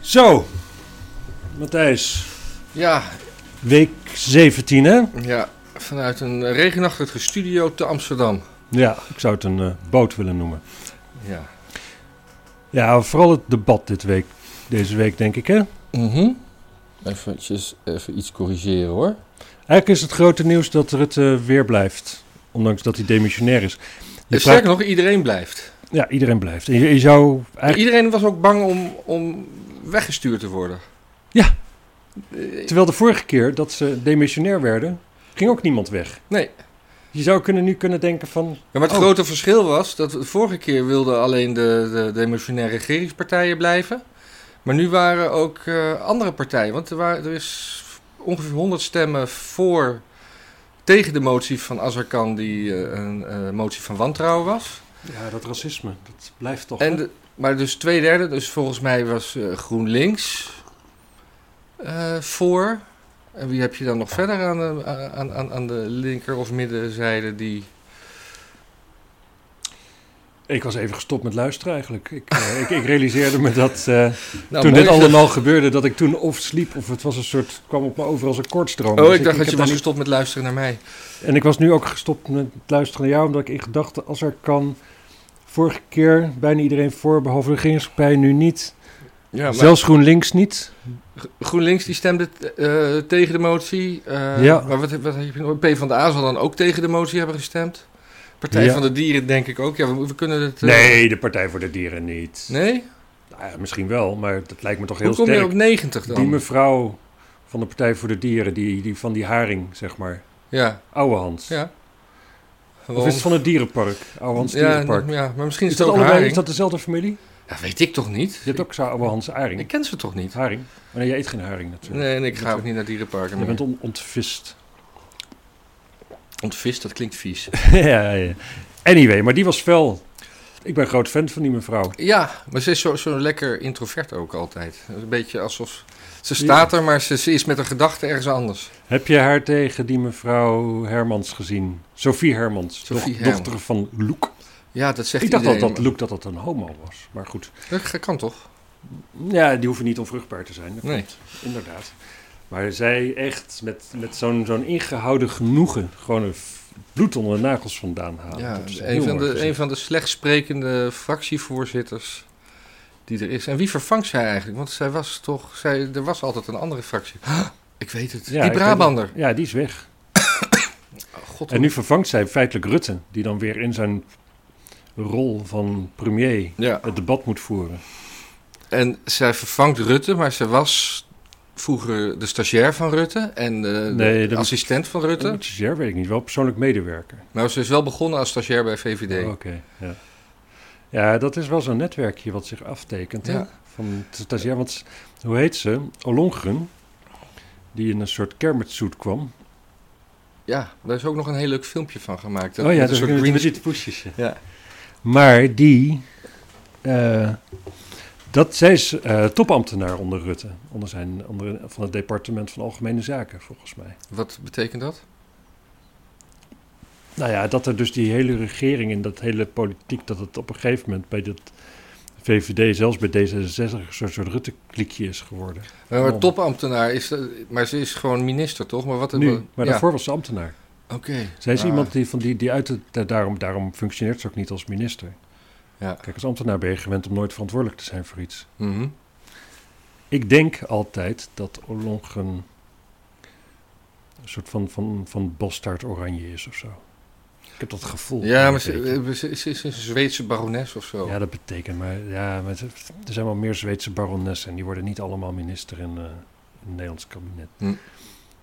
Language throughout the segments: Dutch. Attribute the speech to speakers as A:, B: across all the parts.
A: Zo, Matthijs,
B: Ja,
A: week 17 hè?
B: ja, vanuit een regenachtige studio te Amsterdam.
A: Ja, ik zou het een eh, boot willen noemen.
B: Ja.
A: Ja, vooral het debat dit week, deze week denk ik hè?
B: Mhm. Eventjes, even iets corrigeren hoor.
A: Eigenlijk is het grote nieuws dat Rutte weer blijft, ondanks dat hij demissionair is. Je
B: Sterker nog, iedereen blijft.
A: praat- Ja, iedereen blijft. En je, je zou eigenlijk,
B: Iedereen was ook bang om, om weggestuurd te worden.
A: Ja.
B: Eh,
A: terwijl de vorige keer dat ze demissionair werden, ging ook niemand weg.
B: Nee.
A: Je zou kunnen, nu kunnen denken van,
B: Ja, maar het
A: Oh.
B: grote verschil was dat de vorige keer wilden alleen de, de, de demissionaire regeringspartijen blijven. Maar nu waren ook eh, andere partijen. Want er, waren, er is ongeveer 100 stemmen voor tegen de motie van Azarkan, die eh, een eh, motie van wantrouwen was.
A: ja dat racisme, dat blijft toch.
B: En de- maar dus twee derde, dus volgens mij was eh, GroenLinks eh, voor. En wie heb je dan nog verder aan de, aan, aan, aan de linker- of middenzijde die...
A: Ik was even gestopt met luisteren eigenlijk. Ik, eh, ik, ik realiseerde me dat... eh,
B: Nou,
A: toen
B: mooi
A: dit
B: is dat-
A: allemaal gebeurde, dat ik toen of sliep of het was een soort, het kwam op me over als een kortstroom.
B: Oh,
A: Dus
B: ik dacht dat
A: heb
B: je
A: daar
B: was gestopt met luisteren naar mij.
A: niet- En ik was nu ook gestopt met luisteren naar jou, omdat ik in gedachten, als er kan, vorige keer bijna iedereen voor, behalve de regeringspartij, nu niet.
B: Ja, maar
A: Zelfs GroenLinks niet.
B: GroenLinks die stemde eh, tegen de motie. eh,
A: Ja.
B: Maar wat, heb- wat heb je nog? P van de A zal dan ook tegen de motie hebben gestemd. Partij
A: Ja.
B: van de Dieren denk ik ook. Ja, we, we kunnen het... eh,
A: Nee, de Partij voor de Dieren niet.
B: Nee?
A: Nou ja, misschien wel, maar dat lijkt me toch heel
B: Hoe kom je op
A: sterk.
B: 90 dan?
A: Die mevrouw van de Partij voor de Dieren, die, die van die haring, zeg maar.
B: Ja,
A: Oude Hans.
B: ja.
A: Of is het van het dierenpark? Oude Hans
B: ja,
A: Dierenpark.
B: ja, maar misschien
A: Is
B: is,
A: dat,
B: het ook
A: allebei, is
B: haring.
A: dat dezelfde familie?
B: Ja, weet ik toch niet?
A: Je hebt ook zo'n oude Hans Aring.
B: Ik ken ze toch niet?
A: Haring? Maar nee, je eet geen haring natuurlijk.
B: Nee, en ik ga ook niet naar dierenparken
A: Je
B: meer.
A: bent on- ontvist.
B: Ontvist, dat klinkt vies.
A: ja, ja. Anyway, maar die was fel. Ik ben groot fan van die mevrouw.
B: Ja, maar ze is zo, zo lekker introvert ook altijd. Een beetje alsof... Ze staat er, maar ze, ze is met haar gedachten ergens anders.
A: Heb je haar tegen die mevrouw Hermans gezien? Sophie Hermans,
B: Sophie
A: doch-
B: Hermans.
A: dochter van Loek.
B: Ja, dat zegt
A: Ik dacht al
B: iedereen.
A: dat Loek dat dat een homo was, maar goed.
B: dat... dat kan toch?
A: Ja, die hoeven niet onvruchtbaar te zijn, dat
B: Nee.
A: klopt. Inderdaad. Maar zij echt met, met zo'n zo'n ingehouden genoegen gewoon een f- bloed onder de nagels vandaan halen.
B: ja,
A: Dat is echt
B: een,
A: heel
B: van
A: mooi
B: de,
A: gezien.
B: een van de slecht sprekende fractievoorzitters die er is. En wie vervangt zij eigenlijk? Want zij was toch... Zij, er was altijd een andere fractie. Ik weet het.
A: Ja,
B: die
A: ik weet
B: Brabander.
A: Ja, die is weg.
B: Oh, God,
A: En nu vervangt zij feitelijk Rutte, die dan weer in zijn rol van premier
B: Ja.
A: het debat moet voeren.
B: En zij vervangt Rutte, maar ze was vroeger de stagiair van Rutte en eh, de,
A: Nee, dat-
B: assistent van Rutte.
A: Dat is ja, weet ik niet, wel persoonlijk medewerker.
B: Maar ze is wel begonnen als stagiair bij VVD.
A: Oh, Oké, ja. Ja, dat is wel zo'n netwerkje wat zich aftekent. hè,
B: Ja.
A: Van de stagiair, want s- hoe heet ze? Olongren, die in een soort kermitsuit kwam.
B: Ja, daar is ook nog een heel leuk filmpje van gemaakt. Dat,
A: oh ja, dat
B: met een
A: is
B: soort
A: met,
B: green-
A: met die poesjes. ja.
B: Ja.
A: Maar die, eh, dat, zij is eh, topambtenaar onder Rutte, onder zijn, onder, van het departement van Algemene Zaken, volgens mij.
B: Wat betekent dat?
A: Nou ja, dat er dus die hele regering en dat hele politiek, dat het op een gegeven moment bij dat VVD, zelfs bij D66, een soort, soort Rutte-klikje is geworden.
B: Eh, Maar
A: Oh.
B: topambtenaar is, dat- maar ze is gewoon minister toch? Maar wat
A: Nu, maar
B: ja,
A: daarvoor was ze ambtenaar.
B: Oké.
A: Zij is
B: Ah,
A: iemand die, van die, die uit het, da- daarom, daarom functioneert ze ook niet als minister.
B: Ja.
A: Kijk, als ambtenaar ben je gewend om nooit verantwoordelijk te zijn voor iets.
B: mhm.
A: Ik denk altijd dat Olongen een soort van, van, van bastaard oranje is of zo. Ik heb Oh, dat gevoel.
B: Ja, maar
A: Een beetje.
B: ze, eh, oh. ze- ze is een Zweedse barones of zo.
A: Ja, dat betekent maar. Ja, maar ze- er zijn wel meer Zweedse baronessen en die worden niet allemaal minister in, eh, in het Nederlands kabinet.
B: Hm.
A: Ik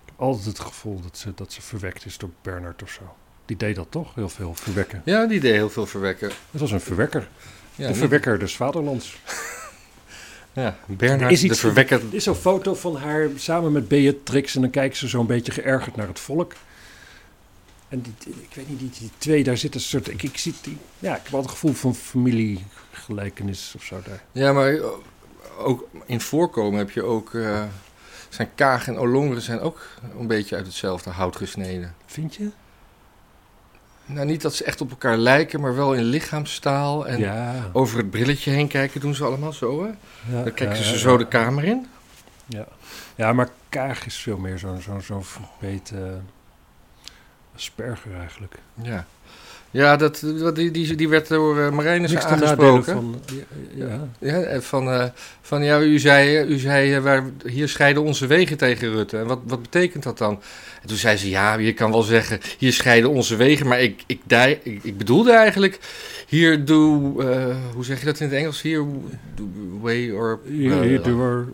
A: heb altijd het gevoel dat ze, dat ze verwekt is door Bernard of zo. Die deed dat toch? Heel veel verwekken.
B: Ja, die deed heel veel verwekken.
A: Het was een verwekker.
B: Ja,
A: de
B: niet-
A: verwekker des vaderlands.
B: Ja,
A: Er
B: Bernhard
A: is
B: de
A: iets-
B: verwekker.
A: Er is zo'n foto van haar samen met Beatrix en dan kijkt ze zo'n beetje geërgerd naar het volk. En die, die- ik weet niet, die, die twee, daar zit een soort... Ik, ik, zie die, ja, ik heb wel het gevoel van familiegelijkenis of zo daar.
B: Ja, maar eh, ook in voorkomen heb je ook. eh, zijn Kaag en Olongeren zijn ook een beetje uit hetzelfde hout gesneden.
A: Vind je?
B: Nou, niet dat ze echt op elkaar lijken, maar wel in lichaamstaal. En
A: ja.
B: over het brilletje heen kijken doen ze allemaal zo, hè?
A: ja,
B: Dan kijken
A: ja,
B: ze
A: ja,
B: zo
A: ja.
B: de kamer in.
A: Ja, ja maar kaag is veel meer zo'n zo'n zo'n verbeten eh, asperger eigenlijk.
B: Ja, ja dat, die, die, die werd door eh Marijnus
A: Niks ten nadele
B: aangesproken.
A: van... Ja, ja.
B: Ja, eh, van, eh, van ja, u zei, eh, u zei eh, waar, hier scheiden onze wegen tegen Rutte. En wat, wat betekent dat dan? En toen zei ze, ja, je kan wel zeggen, hier scheiden onze wegen. Maar ik, ik, dei- ik, ik bedoelde eigenlijk, hier do, eh, hoe zeg je dat in het Engels? Hier do way or... eh,
A: Hier, hier doen we-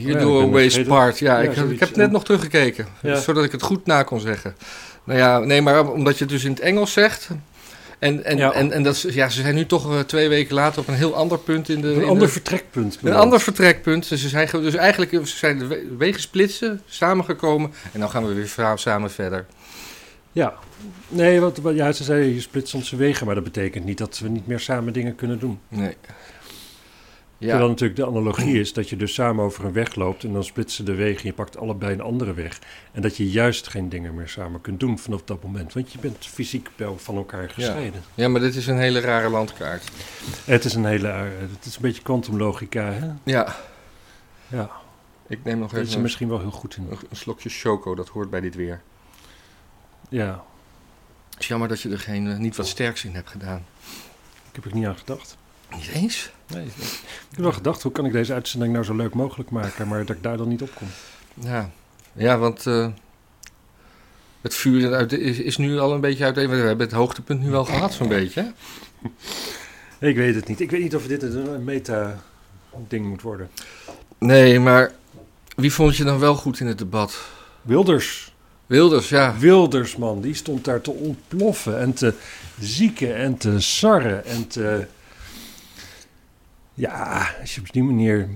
B: Hier
A: Ja,
B: do
A: ik ben
B: a
A: het
B: ways
A: vergeten.
B: part. Ja,
A: Ja,
B: ik, heb- ik
A: zoiets.
B: heb net nog teruggekeken,
A: Ja.
B: zodat ik het goed na kon zeggen. Nou ja, nee, maar omdat je het dus in het Engels zegt... En, en,
A: Ja.
B: en, en dat, is- ja, ze zijn nu toch eh, twee weken later op een heel ander punt in de... in
A: een
B: de-
A: ander vertrekpunt.
B: Een
A: bedoel.
B: ander vertrekpunt. Dus, ze zijn, ge- dus eigenlijk ze zijn de we- wegen splitsen, samengekomen. En dan gaan we weer vra- samen verder.
A: Ja. Nee, want want- ja, ze zei je splitst onze wegen, maar dat betekent niet dat we niet meer samen dingen kunnen doen.
B: Nee. Ja,
A: Terwijl natuurlijk de analogie is dat je dus samen over een weg loopt en dan splitsen de wegen en je pakt allebei een andere weg. En dat je juist geen dingen meer samen kunt doen vanaf dat moment, want je bent fysiek wel van elkaar gescheiden.
B: ja, maar dit is een hele rare landkaart.
A: Het is een hele, eh, het is een beetje kwantumlogica, hè?
B: Ja,
A: Ja,
B: ik neem nog
A: daar is
B: even
A: ze
B: een,
A: misschien wel heel goed in.
B: een slokje choco. Dat hoort bij dit weer.
A: Ja,
B: Het is jammer dat je er geen, eh, niet wat sterks in hebt gedaan.
A: ik heb ik niet aan gedacht.
B: Niet eens?
A: Nee. Ik heb wel gedacht, hoe kan ik deze uitzending nou zo leuk mogelijk maken, maar dat ik daar dan niet op kom.
B: Ja, ja want eh, het vuur uit de- is, is nu al een beetje uit. de- We hebben het hoogtepunt nu wel gehad, zo'n beetje. hè?
A: Ik weet het niet. Ik weet niet of dit een een meta-ding moet worden.
B: Nee, maar wie vond je dan wel goed in het debat?
A: Wilders.
B: Wilders, ja.
A: Wilders, man. Die stond daar te ontploffen en te zieken en te sarren en te... Ja, als je op die manier...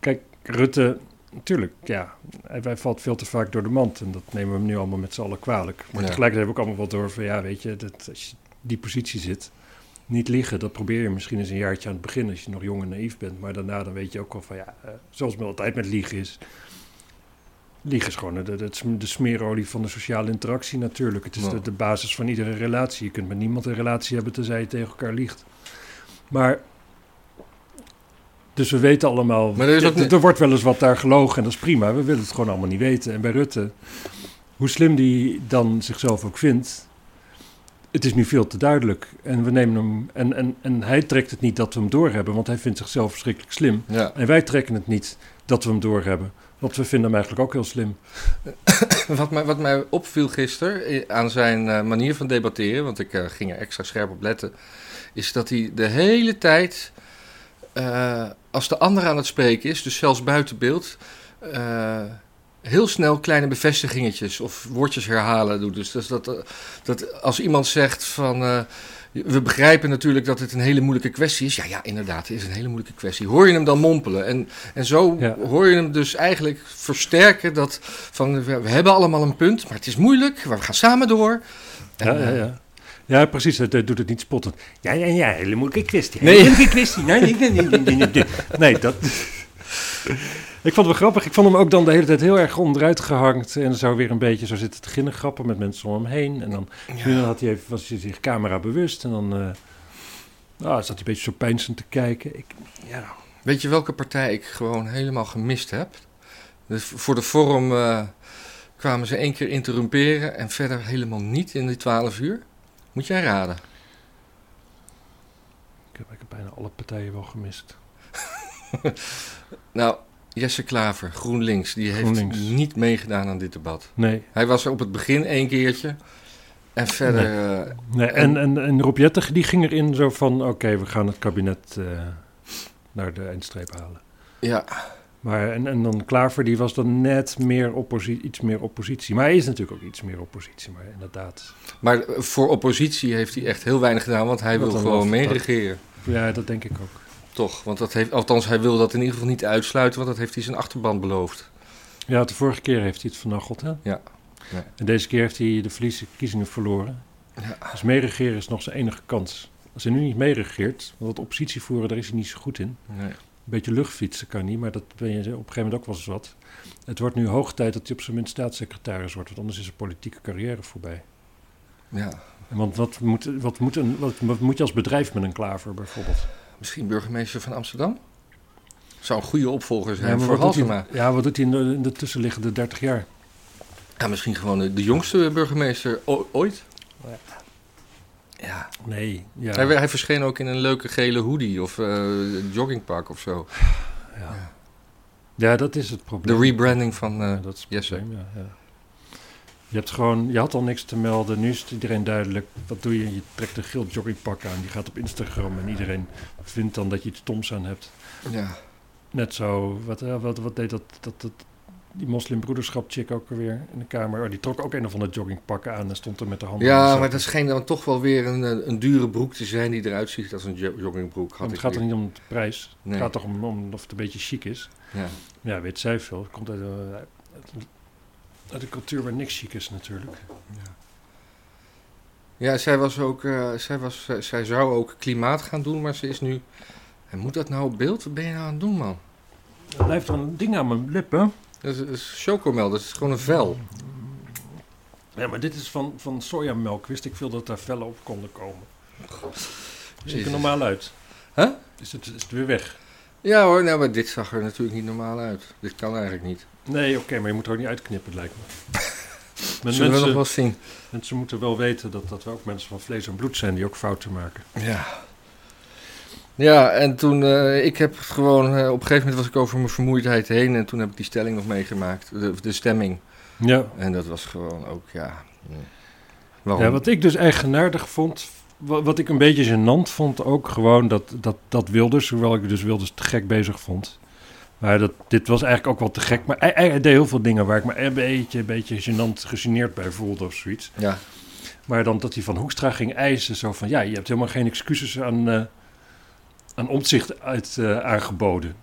A: Kijk, Rutte, natuurlijk, ja. Hij, hij valt veel te vaak door de mand en dat nemen we hem nu allemaal met z'n allen kwalijk. Maar
B: Ja.
A: tegelijkertijd heb ik ook allemaal wel door van, ja, weet je, dat, als je in die positie zit... Niet liggen, dat probeer je misschien eens een jaartje aan het begin als je nog jong en naïef bent. Maar daarna dan weet je ook wel van ja, eh, zoals het altijd met liegen is. Liegen is gewoon de, de, de smeerolie van de sociale interactie natuurlijk. Het is
B: Ja.
A: de, de basis van iedere relatie. Je kunt met niemand een relatie hebben tenzij je tegen elkaar liegt. Maar, dus we weten allemaal,
B: Maar er is ook
A: er,
B: niet-
A: er wordt wel eens wat daar gelogen en dat is prima. We willen het gewoon allemaal niet weten. En bij Rutte, hoe slim die dan zichzelf ook vindt, het is nu veel te duidelijk. En, we nemen hem, en, en, en hij trekt het niet dat we hem doorhebben, want hij vindt zichzelf verschrikkelijk slim.
B: Ja.
A: En wij trekken het niet dat we hem doorhebben, want we vinden hem eigenlijk ook heel slim.
B: Wat mij, wat mij opviel gisteren aan zijn eh, manier van debatteren, want ik eh, ging er extra scherp op letten, is dat hij de hele tijd, eh, als de ander aan het spreken is, dus zelfs buiten beeld, eh, heel snel kleine bevestigingetjes of woordjes herhalen doet. Dus dat, dat, eh, dat als iemand zegt van. eh, we begrijpen natuurlijk dat het een hele moeilijke kwestie is. Ja, ja, inderdaad, het is een hele moeilijke kwestie. Hoor je hem dan mompelen? En, en zo
A: Ja.
B: hoor je hem dus eigenlijk versterken dat van we, we hebben allemaal een punt, maar het is moeilijk, maar we gaan samen door.
A: Ja,
B: En,
A: ja,
B: eh,
A: ja. ja precies. Het eh, doet het niet spottend. Ja, ja, ja. Hele moeilijke kwestie.
B: Nee.
A: Hele moeilijke kwestie. Nee, nee, nee, nee, nee, nee, nee, nee. Nee, dat... Ik vond het wel grappig. Ik vond hem ook dan de hele tijd heel erg onderuit gehangt. En zou weer een beetje zo zitten te ginnen grappen met mensen om hem heen. En dan,
B: eh,
A: nu dan had hij even, was hij zich camera bewust. En dan eh, nou, zat hij een beetje zo pijnzend te kijken. Ik, ja,
B: Weet je welke partij ik gewoon helemaal gemist heb? Dus voor de vorm eh, kwamen ze één keer interrumperen en verder helemaal niet in die 12 uur. Moet jij raden?
A: ik, heb, ik heb bijna alle partijen wel gemist.
B: Nou, Jesse Klaver, GroenLinks, die heeft
A: GroenLinks.
B: niet meegedaan aan dit debat.
A: Nee.
B: Hij was er op het begin één keertje en verder... eh,
A: nee. En, en, en Rob Jetteg, die ging erin zo van... Oké, we gaan het kabinet eh, naar de eindstreep halen.
B: ja,
A: Maar en, en dan Klaver, die was dan net meer opposi- iets meer oppositie. Maar hij is natuurlijk ook iets meer oppositie, maar inderdaad.
B: maar voor oppositie heeft hij echt heel weinig gedaan, want hij
A: Wat
B: wil
A: een
B: gewoon
A: laffe tak.
B: meeregeren.
A: Ja, dat denk ik ook.
B: Toch, want dat heeft, althans, hij wil dat in ieder geval niet uitsluiten, want dat heeft hij zijn achterban beloofd.
A: Ja, de vorige keer heeft hij het vernacheld, hè?
B: Ja. Ja.
A: En deze keer heeft hij de verkiezingen verloren.
B: Ja.
A: Dus meeregeren is nog zijn enige kans. Als hij nu niet meeregeert, want dat oppositie voeren, daar is hij niet zo goed in. Een
B: Nee.
A: beetje luchtfietsen kan niet, maar dat ben je op een gegeven moment ook wel eens wat. Het wordt nu hoog tijd dat hij op zijn minst staatssecretaris wordt, want anders is zijn politieke carrière voorbij.
B: Ja.
A: Want wat moet, wat, moet een, wat, wat moet je als bedrijf met een klaver bijvoorbeeld?
B: Misschien burgemeester van Amsterdam? Zou een goede opvolger zijn
A: Ja, maar
B: voor
A: wat doet
B: Halsema.
A: hij, ja, wat doet hij in de, in de tussenliggende 30 jaar?
B: Ja, misschien gewoon de, de jongste burgemeester o- ooit.
A: Ja.
B: Ja.
A: Nee, ja.
B: Hij, hij verscheen ook in een leuke gele hoodie of eh, joggingpak of zo.
A: ja. ja, dat is het probleem.
B: De rebranding van... eh,
A: Ja, dat is het
B: Yes, sir.
A: probleem, ja, ja. Je, hebt gewoon, je had al niks te melden. Nu is het iedereen duidelijk. Wat doe je? Je trekt een geel joggingpak aan. Die gaat op Instagram en iedereen vindt dan dat je iets stoms aan hebt.
B: ja.
A: Net zo, wat, eh, wat, wat deed dat, dat, dat die moslimbroederschap chick ook alweer in de kamer? Oh, die trok ook een of ander joggingpak aan en stond er met de handen in de
B: ja,
A: zak.
B: maar dat schijnt dan toch wel weer een, eh, een dure broek te zijn die eruit ziet als een jo- joggingbroek. Had
A: Want
B: ik
A: het gaat er
B: niet.
A: niet om de prijs.
B: Nee.
A: Het gaat toch om, om of het een beetje chic is.
B: Ja.
A: Ja, weet zij veel. Het komt uit, eh, uit, uit een cultuur waar niks chic is natuurlijk.
B: Ja, zij, was ook, eh, zij, was, zij- zij zou ook klimaat gaan doen, maar ze is nu... En moet dat nou op beeld? Wat ben je nou aan het doen, man?
A: Er blijft wel een ding aan mijn lippen.
B: Dat is, dat is chocomel, dat is gewoon een vel.
A: Ja, maar dit is van, van sojamelk. Wist ik veel dat daar vellen op konden komen. Ziet er
B: Jezus.
A: normaal uit.
B: Huh?
A: Is het, is het weer weg?
B: Ja hoor, nou, maar dit zag er natuurlijk niet normaal uit. Dit kan eigenlijk niet.
A: Nee, oké, maar je moet er ook niet uitknippen, lijkt me.
B: Dat
A: Men-
B: zullen we nog
A: mensen,
B: wel eens zien.
A: mensen moeten wel weten dat, dat we ook mensen van vlees en bloed zijn die ook fouten maken.
B: Ja. Ja, en toen, eh, ik heb het gewoon, eh, op een gegeven moment was ik over mijn vermoeidheid heen en toen heb ik die stelling nog meegemaakt, de, de stemming.
A: Ja.
B: En dat was gewoon ook, ja. hm. Waarom?
A: ja, wat ik dus eigenaardig vond, wa- wat ik een beetje gênant vond ook gewoon, dat, dat, dat Wilders, hoewel ik dus Wilders te gek bezig vond. Maar dat, dit was eigenlijk ook wel te gek. Maar hij, hij hij deed heel veel dingen waar ik me een beetje, een beetje gênant, gegeneerd bij voelde of zoiets.
B: Ja,
A: Maar dan dat hij van Hoekstra ging eisen, zo van ja, je hebt helemaal geen excuses aan, eh aan omzicht uit, eh, aangeboden.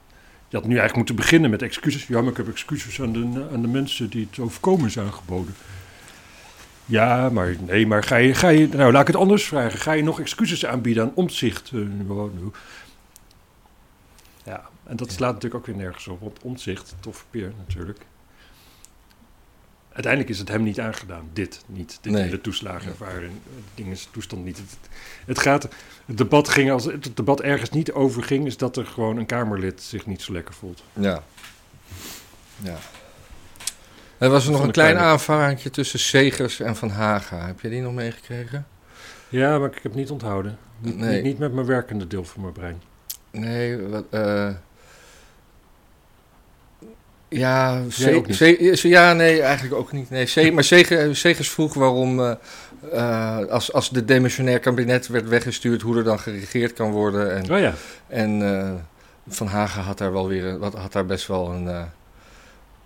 A: Je had nu eigenlijk moeten beginnen met excuses. Ja, maar ik heb excuses aan de, aan de mensen die het overkomen is aangeboden. Ja, maar nee, maar ga je, ga je, nou laat ik het anders vragen. Ga je nog excuses aanbieden aan omzicht? nou. Ja, en dat slaat natuurlijk ook weer nergens op, want omzicht, toffe peer natuurlijk. Uiteindelijk is het hem niet aangedaan, dit niet. Dit
B: Nee.
A: hele toeslagenaffaire, dingens, toestand niet. Het, het gaat, het debat ging, als het debat ergens niet over ging, is dat er gewoon een Kamerlid zich niet zo lekker voelt.
B: ja. Ja. Er was er nog
A: Van de
B: een klein
A: kleine-
B: aanvaartje tussen Segers en Van Haga. Heb je die nog meegekregen?
A: Ja, maar ik heb het niet onthouden. Niet,
B: Nee.
A: niet, niet met mijn werkende deel van mijn brein.
B: Nee, wat, eh, ja,
A: Jij ook
B: Ze-
A: niet?
B: Ze- Ze- ja, nee, eigenlijk ook niet. Nee, Ze- maar Zege- Zegers vroeg waarom, eh, eh, als, als de demissionair kabinet werd weggestuurd, hoe er dan geregeerd kan worden. En,
A: Oh ja,
B: en eh, Van Hagen had daar, wel weer, een- wat- had daar best wel een, eh,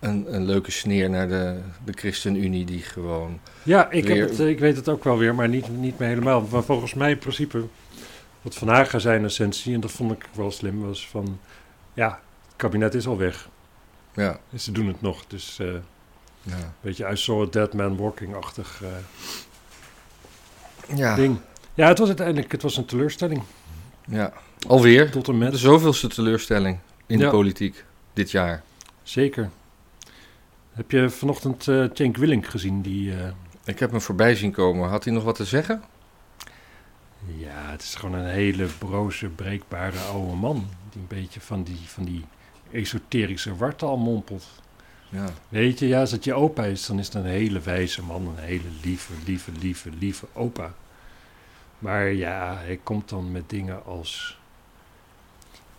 B: een, een leuke sneer naar de, de ChristenUnie, die gewoon...
A: ja ik, heb
B: Weer-
A: het, eh, ik weet het ook wel weer, maar niet, niet meer helemaal. Maar volgens mij in principe, wat Van Haga zijn essentie, en dat vond ik wel slim, was van... Ja, het kabinet is al weg.
B: Ja,
A: En ze doen het nog, dus... eh,
B: ja.
A: beetje I saw a dead man walking-achtig eh,
B: ja,
A: ding. Ja, het was uiteindelijk het was een teleurstelling.
B: ja. alweer. Dus
A: Tot en met.
B: De zoveelste teleurstelling in de
A: Ja.
B: politiek dit jaar.
A: Zeker. Heb je vanochtend eh Cenk Willink gezien? Die, eh,
B: Ik heb hem voorbij zien komen. Had hij nog wat te zeggen?
A: ja, het is gewoon een hele broze, breekbare oude man. Die een beetje van die, van die esoterische wartaal mompelt.
B: Ja.
A: Weet je, ja, als het je opa is, dan is het een hele wijze man. Een hele lieve, lieve, lieve, lieve opa. Maar ja, hij komt dan met dingen als...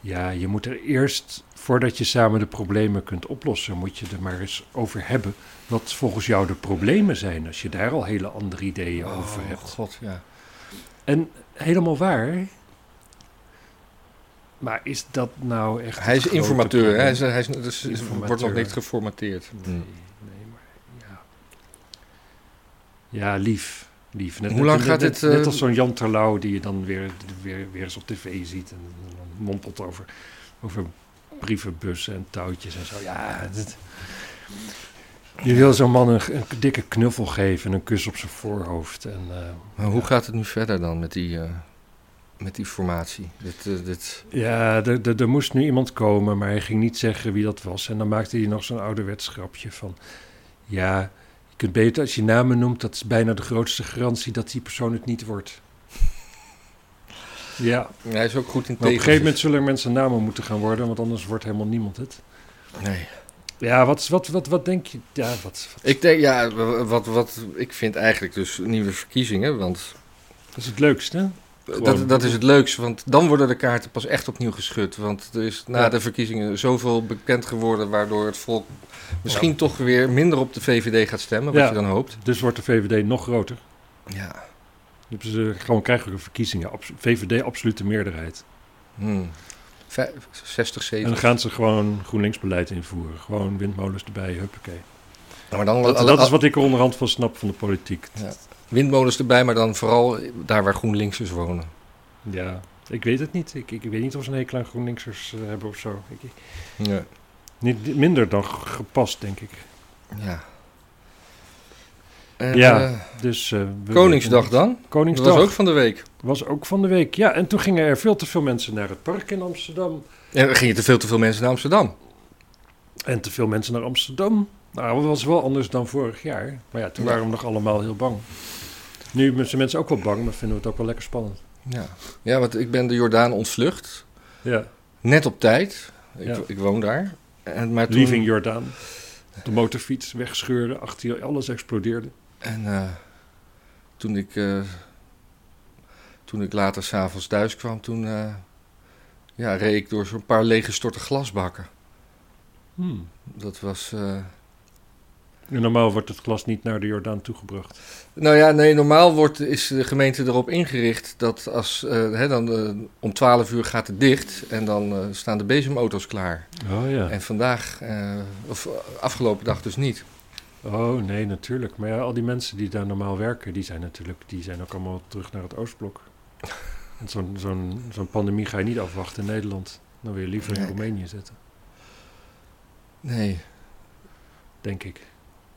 A: Ja, je moet er eerst, voordat je samen de problemen kunt oplossen... moet je er maar eens over hebben wat volgens jou de problemen zijn... als je daar al hele andere ideeën over
B: Oh,
A: hebt.
B: god, ja.
A: En helemaal waar... Maar is dat nou echt...
B: Hij is
A: het grote
B: informateur. hè? Hij,
A: probleem?
B: is, hij is, dus is- wordt nog
A: Informateur.
B: niet geformateerd.
A: Nee,
B: Hmm.
A: nee, maar ja. Ja, lief. Lief. Net,
B: Hoe
A: net-
B: lang
A: net-
B: gaat
A: net-
B: dit,
A: Net,
B: eh,
A: als zo'n Jan Terlouw die je dan weer, weer, weer eens op tv ziet en dan mompelt over, over brievenbussen en touwtjes en zo. Ja, dit- je wil zo'n man een, een dikke knuffel geven en een kus op zijn voorhoofd. En, eh,
B: Maar hoe gaat het nu verder dan met die, eh, met die formatie? Dit, eh, dit...
A: ja, er- er er moest nu iemand komen, maar hij ging niet zeggen wie dat was. En dan maakte hij nog zo'n ouderwets grapje van... Ja, kunt beter, als je namen noemt, dat is bijna de grootste garantie dat die persoon het niet wordt. Ja, maar
B: Hij is ook goed in
A: op een gegeven moment
B: tegenwicht.
A: zullen er mensen namen moeten gaan worden, want anders wordt helemaal niemand het.
B: Nee.
A: Ja, wat, wat, wat, wat denk je? Ja, wat, wat-
B: Ik denk, ja, w- wat, wat ik vind eigenlijk dus nieuwe verkiezingen, want eh,
A: dat is het leukste. hè? Gewoon.
B: dat, dat is het leukste, want dan worden de kaarten pas echt opnieuw geschud. Want er is na
A: Ja.
B: de verkiezingen zoveel bekend geworden, waardoor het volk misschien toch weer minder op de VVD gaat stemmen, wat
A: Ja.
B: je dan hoopt.
A: Dus wordt de VVD nog groter.
B: Ja.
A: Dan hebben ze gewoon krijgen we verkiezingen. Abs- VVD absolute meerderheid.
B: Hmm. Vijf- 60,
A: En dan
B: 70.
A: gaan ze gewoon GroenLinks beleid invoeren. Gewoon windmolens erbij, huppakee.
B: maar dan
A: Dat,
B: alle-
A: dat is wat ik er onderhand van snap van de politiek.
B: Windmolens erbij, maar dan vooral daar waar GroenLinksers wonen.
A: Ja, ik weet het niet. Ik, ik weet niet of ze een hekel aan GroenLinksers eh, hebben of zo. Ik,
B: Ja.
A: niet, minder dan g- gepast, denk ik.
B: ja. Eh,
A: Ja.
B: eh,
A: Dus, eh, we-
B: Koningsdag dan? Dat
A: Koningsdag
B: was ook van de week.
A: van de week. Ja, en toen gingen er veel te veel mensen naar het park in Amsterdam.
B: En er gingen te veel te veel mensen naar Amsterdam.
A: En te veel mensen naar Amsterdam. Nou, dat was wel anders dan vorig jaar. Maar ja, toen
B: Ja.
A: waren we nog allemaal heel bang. Nu zijn mensen ook wel bang, maar vinden we het ook wel lekker spannend.
B: Ja. ja, want ik ben de Jordaan ontvlucht.
A: Ja,
B: Net op tijd. Ik,
A: Ja.
B: ik woon daar. En, maar toen,
A: Leaving Jordaan. De motorfiets wegscheurde, achter je, alles explodeerde.
B: En eh, toen, ik, eh, toen ik later s'avonds thuis kwam, toen eh, ja, reed ik door zo'n paar lege storten glasbakken.
A: Hmm.
B: Dat was... eh,
A: En Normaal wordt het glas niet naar de Jordaan toegebracht.
B: Nou ja, nee, normaal wordt, is de gemeente erop ingericht dat als, eh, hè, dan, eh, om 12 uur gaat het dicht en dan eh, staan de bezemauto's klaar.
A: Oh ja.
B: En vandaag, eh, of eh, afgelopen dag dus niet.
A: Oh nee, natuurlijk. Maar ja, al die mensen die daar normaal werken, die zijn natuurlijk die zijn ook allemaal terug naar het Oostblok. Want zo'n zo'n zo'n pandemie ga je niet afwachten in Nederland. Dan wil je liever in
B: Nee.
A: Roemenië zitten,
B: Nee.
A: denk ik.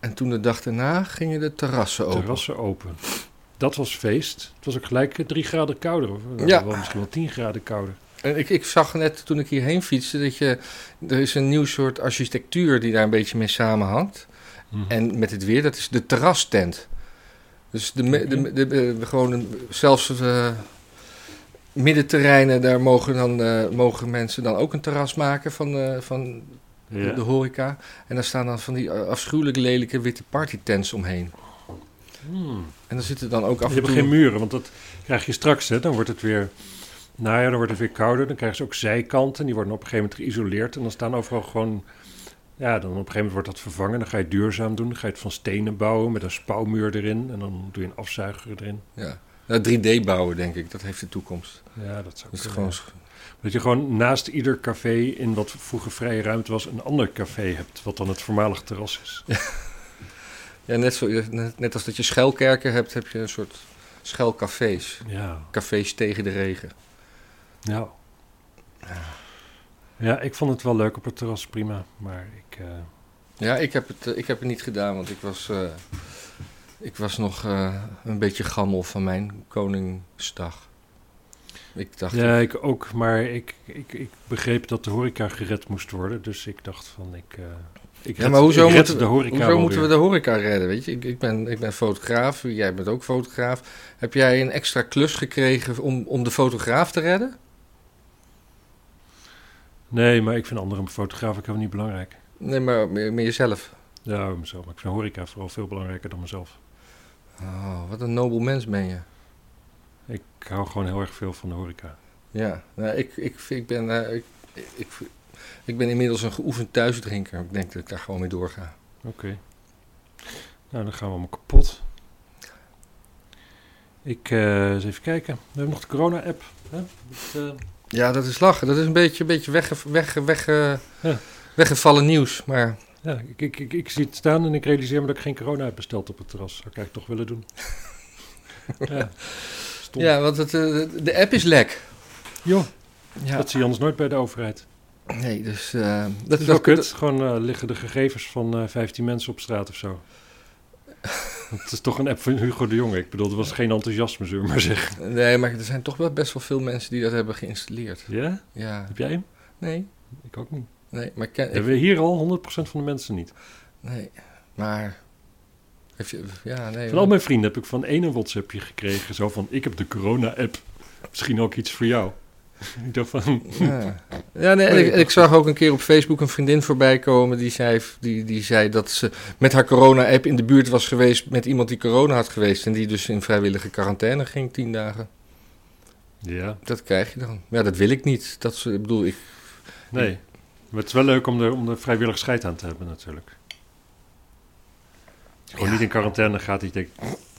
B: En toen de dag daarna gingen de terrassen open.
A: Terrassen open. Dat was feest. Het was ook gelijk eh, drie graden kouder. Of, eh,
B: Ja.
A: wel, misschien wel tien graden kouder.
B: En ik, ik zag net toen ik hierheen fietste dat je, er is een nieuw soort architectuur die daar een beetje mee samenhangt.
A: Hm.
B: En met het weer, dat is de terrastent. Dus de, me-
A: Mhm.
B: de, de, de- gewoon een- zelfs eh, middenterreinen, daar mogen, dan, eh, mogen mensen dan ook een terras maken van, eh, van de-
A: Ja.
B: de horeca. En daar staan dan van die eh, afschuwelijk lelijke witte partytents omheen.
A: Hm.
B: En dan zitten dan ook af
A: Je
B: en
A: hebt
B: toe...
A: geen muren, want dat krijg je straks. Hè. Dan wordt het weer, nou ja, dan wordt het weer kouder. Dan krijgen ze ook zijkanten. Die worden op een gegeven moment geïsoleerd. En dan staan overal gewoon, ja, dan op een gegeven moment wordt dat vervangen. Dan ga je het duurzaam doen. Dan ga je het van stenen bouwen met een spouwmuur erin. En dan doe je een afzuiger erin.
B: ja. Nou, 3D bouwen, denk ik. Dat heeft de toekomst.
A: Ja, dat zou
B: Dat is
A: kunnen.
B: gewoon...
A: Dat je gewoon naast ieder café in wat vroeger vrije ruimte was, een ander café hebt. Wat dan het voormalig terras is.
B: Ja, net, zo, net, net als dat je schuilkerken hebt, heb je een soort schuilcafés.
A: Ja,
B: Cafés tegen de regen.
A: nou. Ja, ik vond het wel leuk op het terras, prima. Maar ik... eh,
B: Ja, ik heb het, eh, ik heb het niet gedaan, want ik was, eh, ik was nog eh, een beetje gammel van mijn Koningsdag. Ik dacht,
A: Ja, ik ook, maar ik, ik, ik begreep dat de horeca gered moest worden. Dus ik dacht van, ik, eh ik
B: Ja,
A: red-
B: maar hoezo
A: ik red
B: moeten-
A: de horeca
B: hoezo
A: wel
B: moeten we
A: weer.
B: de horeca redden? Weet je, ik, ik, ben, ik ben fotograaf, jij bent ook fotograaf. Heb jij een extra klus gekregen om, om de fotograaf te redden?
A: Nee, maar ik vind andere fotografen ook helemaal niet belangrijk.
B: Nee, maar meer, meer jezelf.
A: Ja, mezelf. Maar ik vind horeca vooral veel belangrijker dan mezelf.
B: Oh, wat een nobel mens ben je.
A: Ik hou gewoon heel erg veel van de horeca.
B: Ja, nou, ik, ik, ik, ben, eh, ik, ik, ik ben inmiddels een geoefend thuisdrinker. Ik denk dat ik daar gewoon mee doorga.
A: Nou, dan gaan we allemaal kapot. Ik, eh, eens even kijken. We hebben nog de corona-app. hè? Dat, eh,
B: Ja, dat is lachen. Dat is een beetje, een beetje wegge, wegge, wegge,
A: Ja.
B: weggevallen nieuws. Maar
A: ja, ik, ik, ik, ik zie het staan en ik realiseer me dat ik geen corona heb besteld op het terras. Zou ik eigenlijk toch willen doen. ja, stom.
B: ja, want het, eh, de app is lek.
A: Joh,
B: Ja.
A: dat zie je anders nooit bij de overheid.
B: Nee, dus eh,
A: Dat
B: dat
A: is wel
B: dat-
A: kut. Gewoon eh, liggen de gegevens van eh, 15 mensen op straat of zo. Het is toch een app van Hugo de Jonge. Ik bedoel, er was geen enthousiasme, zullen we maar zeggen.
B: dat- nee, maar er zijn toch wel best wel veel mensen die dat hebben geïnstalleerd.
A: Ja?
B: Ja,
A: Heb jij hem?
B: nee,
A: Ik ook niet.
B: nee, maar ik ken, ik-
A: Hebben we hier al 100% van de mensen niet.
B: nee, maar Heb je, ja, nee.
A: Van al mijn vrienden heb ik van één een WhatsAppje gekregen. Zo van, ik heb de corona-app. Misschien ook iets voor jou. ik dacht van,
B: Ja, ja nee, en ik, en ik zag ook een keer op Facebook een vriendin voorbij komen die zei, die, die zei dat ze met haar corona-app in de buurt was geweest met iemand die corona had geweest en die dus in vrijwillige quarantaine ging tien dagen.
A: ja,
B: Dat krijg je dan. Ja, dat wil ik niet. Dat, is- ik bedoel, ik,
A: nee. Maar het is wel leuk om er om de vrijwillig scheid aan te hebben natuurlijk. Als je Gewoon
B: Ja.
A: niet in quarantaine gaat. Ik denk,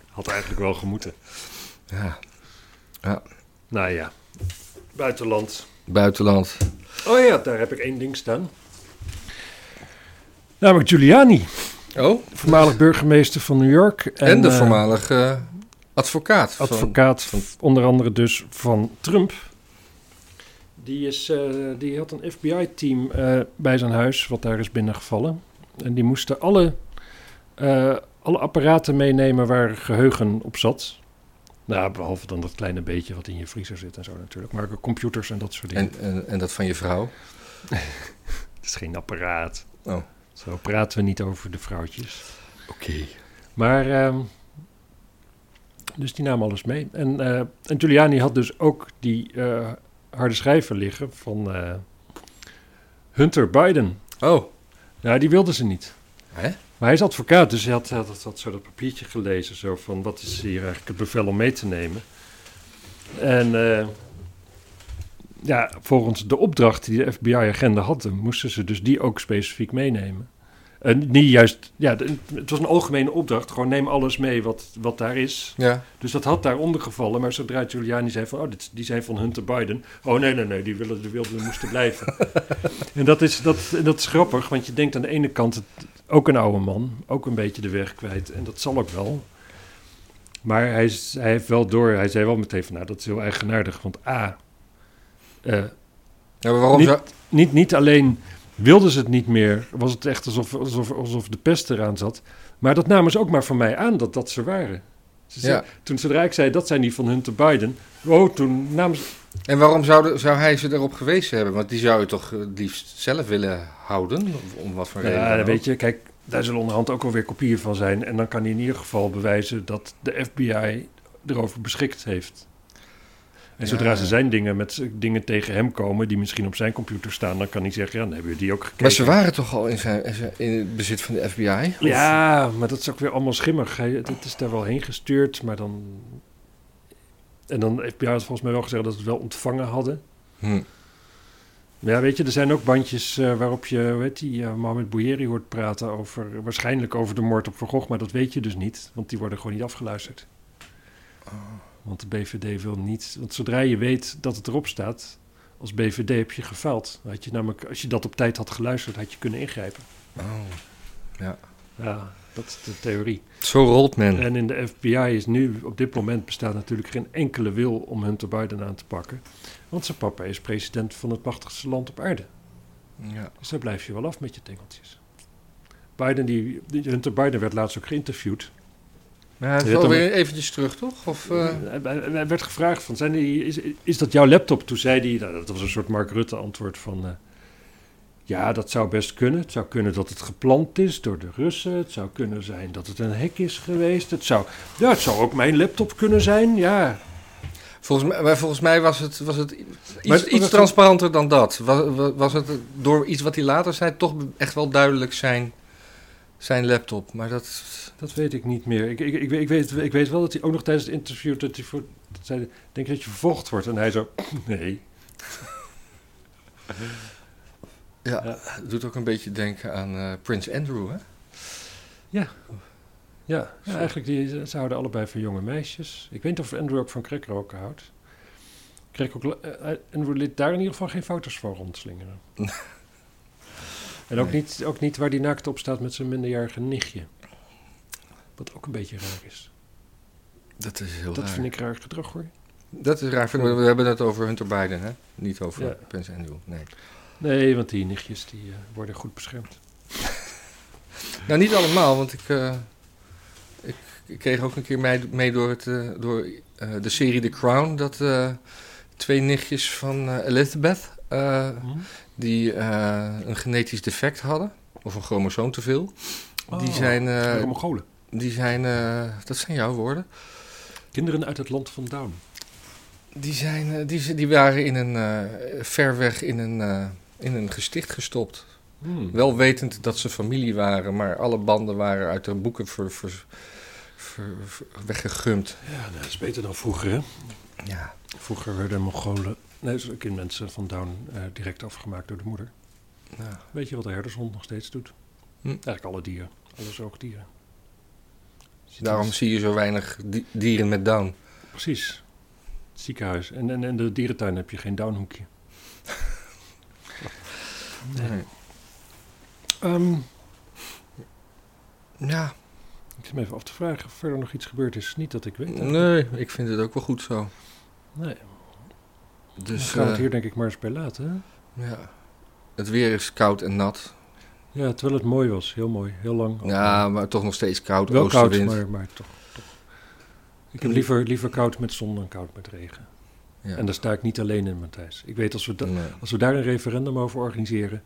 A: had eigenlijk wel gemoeten.
B: ja,
A: Nou ja, buitenland.
B: buitenland.
A: Oh ja, daar heb ik één ding staan. Namelijk Giuliani,
B: Oh,
A: voormalig burgemeester van New York.
B: en, de
A: eh,
B: voormalige eh, advocaat. van-
A: advocaat,
B: van-
A: onder andere dus van Trump. Die, is, eh, die had een FBI-team eh, bij zijn huis, wat daar is binnengevallen. En die moesten alle, eh, alle apparaten meenemen waar geheugen op zat. Nou, behalve dan dat kleine beetje wat in je vriezer zit en zo natuurlijk. Maar ook computers en dat soort dingen.
B: en, en, en dat van je vrouw.
A: Het is geen apparaat.
B: Oh.
A: Zo praten we niet over de vrouwtjes.
B: Oké.
A: Maar, ehm, dus die nam alles mee. En, eh en Giuliani had dus ook die eh, harde schijven liggen van eh, Hunter Biden.
B: Oh,
A: Nou, die wilden ze niet.
B: hè?
A: Maar hij is advocaat, dus hij had, had, had, had zo dat papiertje gelezen. Zo van, wat is hier eigenlijk het bevel om mee te nemen? En eh, ja, volgens de opdracht die de FBI-agenda hadden... moesten ze dus die ook specifiek meenemen. En niet juist... Ja, de- het was een algemene opdracht. Gewoon neem alles mee wat, wat daar is.
B: Ja.
A: Dus dat had daaronder gevallen. Maar zodra Giuliani zei van... Oh, dit, die zijn van Hunter Biden. Oh, nee, nee, nee. Die willen, die wilden, moesten blijven. en dat is, dat, en dat is grappig. Want je denkt aan de ene kant... Het, ook een oude man. Ook een beetje de weg kwijt. En dat zal ook wel. Maar hij, is- hij heeft wel door... Hij zei wel meteen van... Nou, dat is heel eigenaardig. Want A... eh,
B: ja maar waarom
A: Niet-
B: zou...
A: niet, niet alleen wilden ze het niet meer... Was het echt alsof, alsof, alsof de pest eraan zat. Maar dat namen ze ook maar van mij aan dat dat ze waren. Ze zei-
B: Ja.
A: toen zodra ik zei, dat zijn die van Hunter Biden. Oh, toen namen ze...
B: En waarom zou, zou hij ze erop gewezen hebben? Want die zou je toch eh, het liefst zelf willen houden? Of Om wat voor reden
A: Ja,
B: dan
A: weet
B: ook?
A: je, kijk, daar zullen onderhand ook alweer kopieën van zijn. En dan kan hij in ieder geval bewijzen dat de FBI erover beschikt heeft. En
B: Ja.
A: zodra ze zijn dingen, met, z- dingen tegen hem komen die misschien op zijn computer staan, dan kan hij zeggen, ja, dan hebben we die ook gekeken.
B: Maar ze waren toch al in, zijn, in het bezit van de FBI? Of-
A: Ja, maar dat is ook weer allemaal schimmig. Hij, het is daar wel heen gestuurd, maar dan... En dan heeft FBI had volgens mij wel gezegd dat ze het wel ontvangen hadden.
B: Hm.
A: Maar Ja, weet je, er zijn ook bandjes eh, waarop je, weet die, eh, Mohamed Bouyeri hoort praten over, waarschijnlijk over de moord op Van Gogh, maar dat weet je dus niet, want die worden gewoon niet afgeluisterd. Want de BVD wil niet, want zodra je weet dat het erop staat, als BVD heb je gefaald. Had je namelijk, als je dat op tijd had geluisterd, had je kunnen ingrijpen.
B: Oh.
A: Ja, dat is de theorie.
B: Zo rolt men.
A: En in de FBI is nu, op dit moment bestaat natuurlijk geen enkele wil om Hunter Biden aan te pakken, want zijn papa is president van het machtigste land op aarde.
B: Ja.
A: Dus daar blijf je wel af met je tengeltjes. Biden, die, die- Hunter Biden werd laatst ook geïnterviewd.
B: Maar hij
A: Je
B: is
A: hebt
B: alweer eventjes terug, toch? Of, eh,
A: Hij- hij- hij werd gevraagd van, zijn die, is, is dat jouw laptop? Toen zei hij, nou, dat was een soort Mark Rutte antwoord van... eh, ja, dat zou best kunnen. Het zou kunnen dat het gepland is door de Russen. Het zou kunnen zijn dat het een hek is geweest. Het zou, ja, het zou ook mijn laptop kunnen zijn, ja.
B: volgens, mij, maar volgens mij was het, was het iets,
A: Maar het-
B: iets transparanter dan dat. Was, wa- was het door iets wat hij later zei toch echt wel duidelijk zijn, zijn laptop? Maar dat...
A: Dat weet ik niet meer. Ik, ik, ik, weet- ik, weet, ik weet wel dat hij ook nog tijdens het interview... Dat hij voor, dat zei, denk je dat je vervolgd wordt? En hij zo, nee.
B: Ja,
A: Ja.
B: doet ook een beetje denken aan eh, Prins Andrew, hè?
A: Ja, ja,
B: Zo.
A: eigenlijk die, ze houden allebei van jonge meisjes. Ik weet niet of Andrew ook van crackroken houdt. Crack ook, eh, Andrew liet daar in ieder geval geen foto's van rondslingeren. en ook,
B: Nee.
A: niet, ook niet waar die naakt op staat met zijn minderjarige nichtje. Wat ook een beetje raar is.
B: Dat is heel
A: Dat vind ik raar gedrag hoor.
B: Dat is raar. vind ik. We hebben het over Hunter Biden, hè? Niet over
A: Ja.
B: Prins Andrew. Nee.
A: Nee, want die nichtjes die, eh, worden goed beschermd.
B: Nou, niet allemaal, want ik, eh, ik, ik kreeg ook een keer mee, mee door, het, eh, door eh, de serie The Crown dat eh, twee nichtjes van eh, Elizabeth, eh,
A: Hm?
B: die eh, een genetisch defect hadden, of een chromosoom te veel,
A: Oh,
B: die zijn. eh,
A: Mongolen.
B: die zijn, eh, dat zijn jouw woorden,
A: Kinderen uit het land van Down.
B: die, zijn, eh, die, die waren in een, eh, ver weg in een, eh, in een gesticht gestopt.
A: Hmm.
B: Wel wetend dat ze familie waren, maar alle banden waren uit de boeken ver, ver, ver- ver- weggegumd.
A: Ja, nou, dat is beter dan vroeger, hè?
B: Ja.
A: Vroeger werden Mongolen, nee, zo- kindmensen van Down eh, direct afgemaakt door de moeder.
B: ja.
A: Weet je wat de herdershond nog steeds doet?
B: Hm.
A: Eigenlijk alle dieren, alle zoogdieren. Zit
B: Daarom
A: in-
B: zie je zo weinig di- dieren met down.
A: Precies. Het ziekenhuis. En in en de dierentuin heb je geen downhoekje.
B: Nee.
A: Ehm,
B: Ja,
A: ik zit me even af te vragen of verder nog iets gebeurd is. Niet dat ik weet. eigenlijk.
B: nee, ik vind het ook wel goed zo.
A: nee. Dus
B: Dus,
A: gaan we het
B: eh,
A: hier denk ik maar eens bij laten. Hè?
B: ja. Het weer is koud en nat.
A: Ja, terwijl het mooi was. Heel mooi. Heel lang.
B: Ja, maar toch nog steeds koud.
A: Oh, wel koud,
B: oostenwind.
A: maar, maar toch, toch. Ik heb liever, liever koud met zon dan koud met regen.
B: Ja.
A: En daar sta ik niet alleen in, Matthijs. Ik weet als we, da-
B: Nee.
A: als we daar een referendum over organiseren,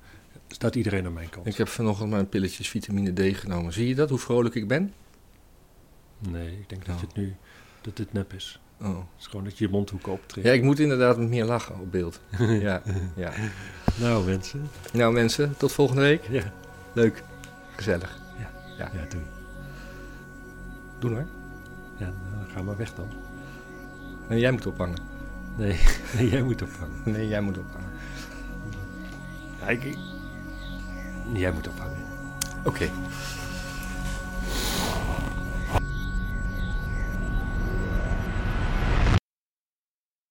A: staat iedereen aan mijn kant.
B: Ik heb vanochtend mijn pilletjes vitamine D genomen. Zie je dat, hoe vrolijk ik ben?
A: Nee, ik denk dat,
B: Oh.
A: je het nu, dat dit nep is.
B: Oh.
A: Het is gewoon dat je je mondhoeken optrekt.
B: Ja, ik moet inderdaad met meer lachen op beeld. ja, ja.
A: Nou, mensen.
B: Nou mensen, tot volgende week.
A: Ja,
B: Leuk. Gezellig.
A: ja doei.
B: Doen hoor.
A: Ja, nou, ga maar weg dan.
B: Nee, jij moet ophangen.
A: Nee, nee jij moet opvangen.
B: Nee, jij moet ophangen.
A: Ja, ik- Jij moet opvangen.
B: Oké.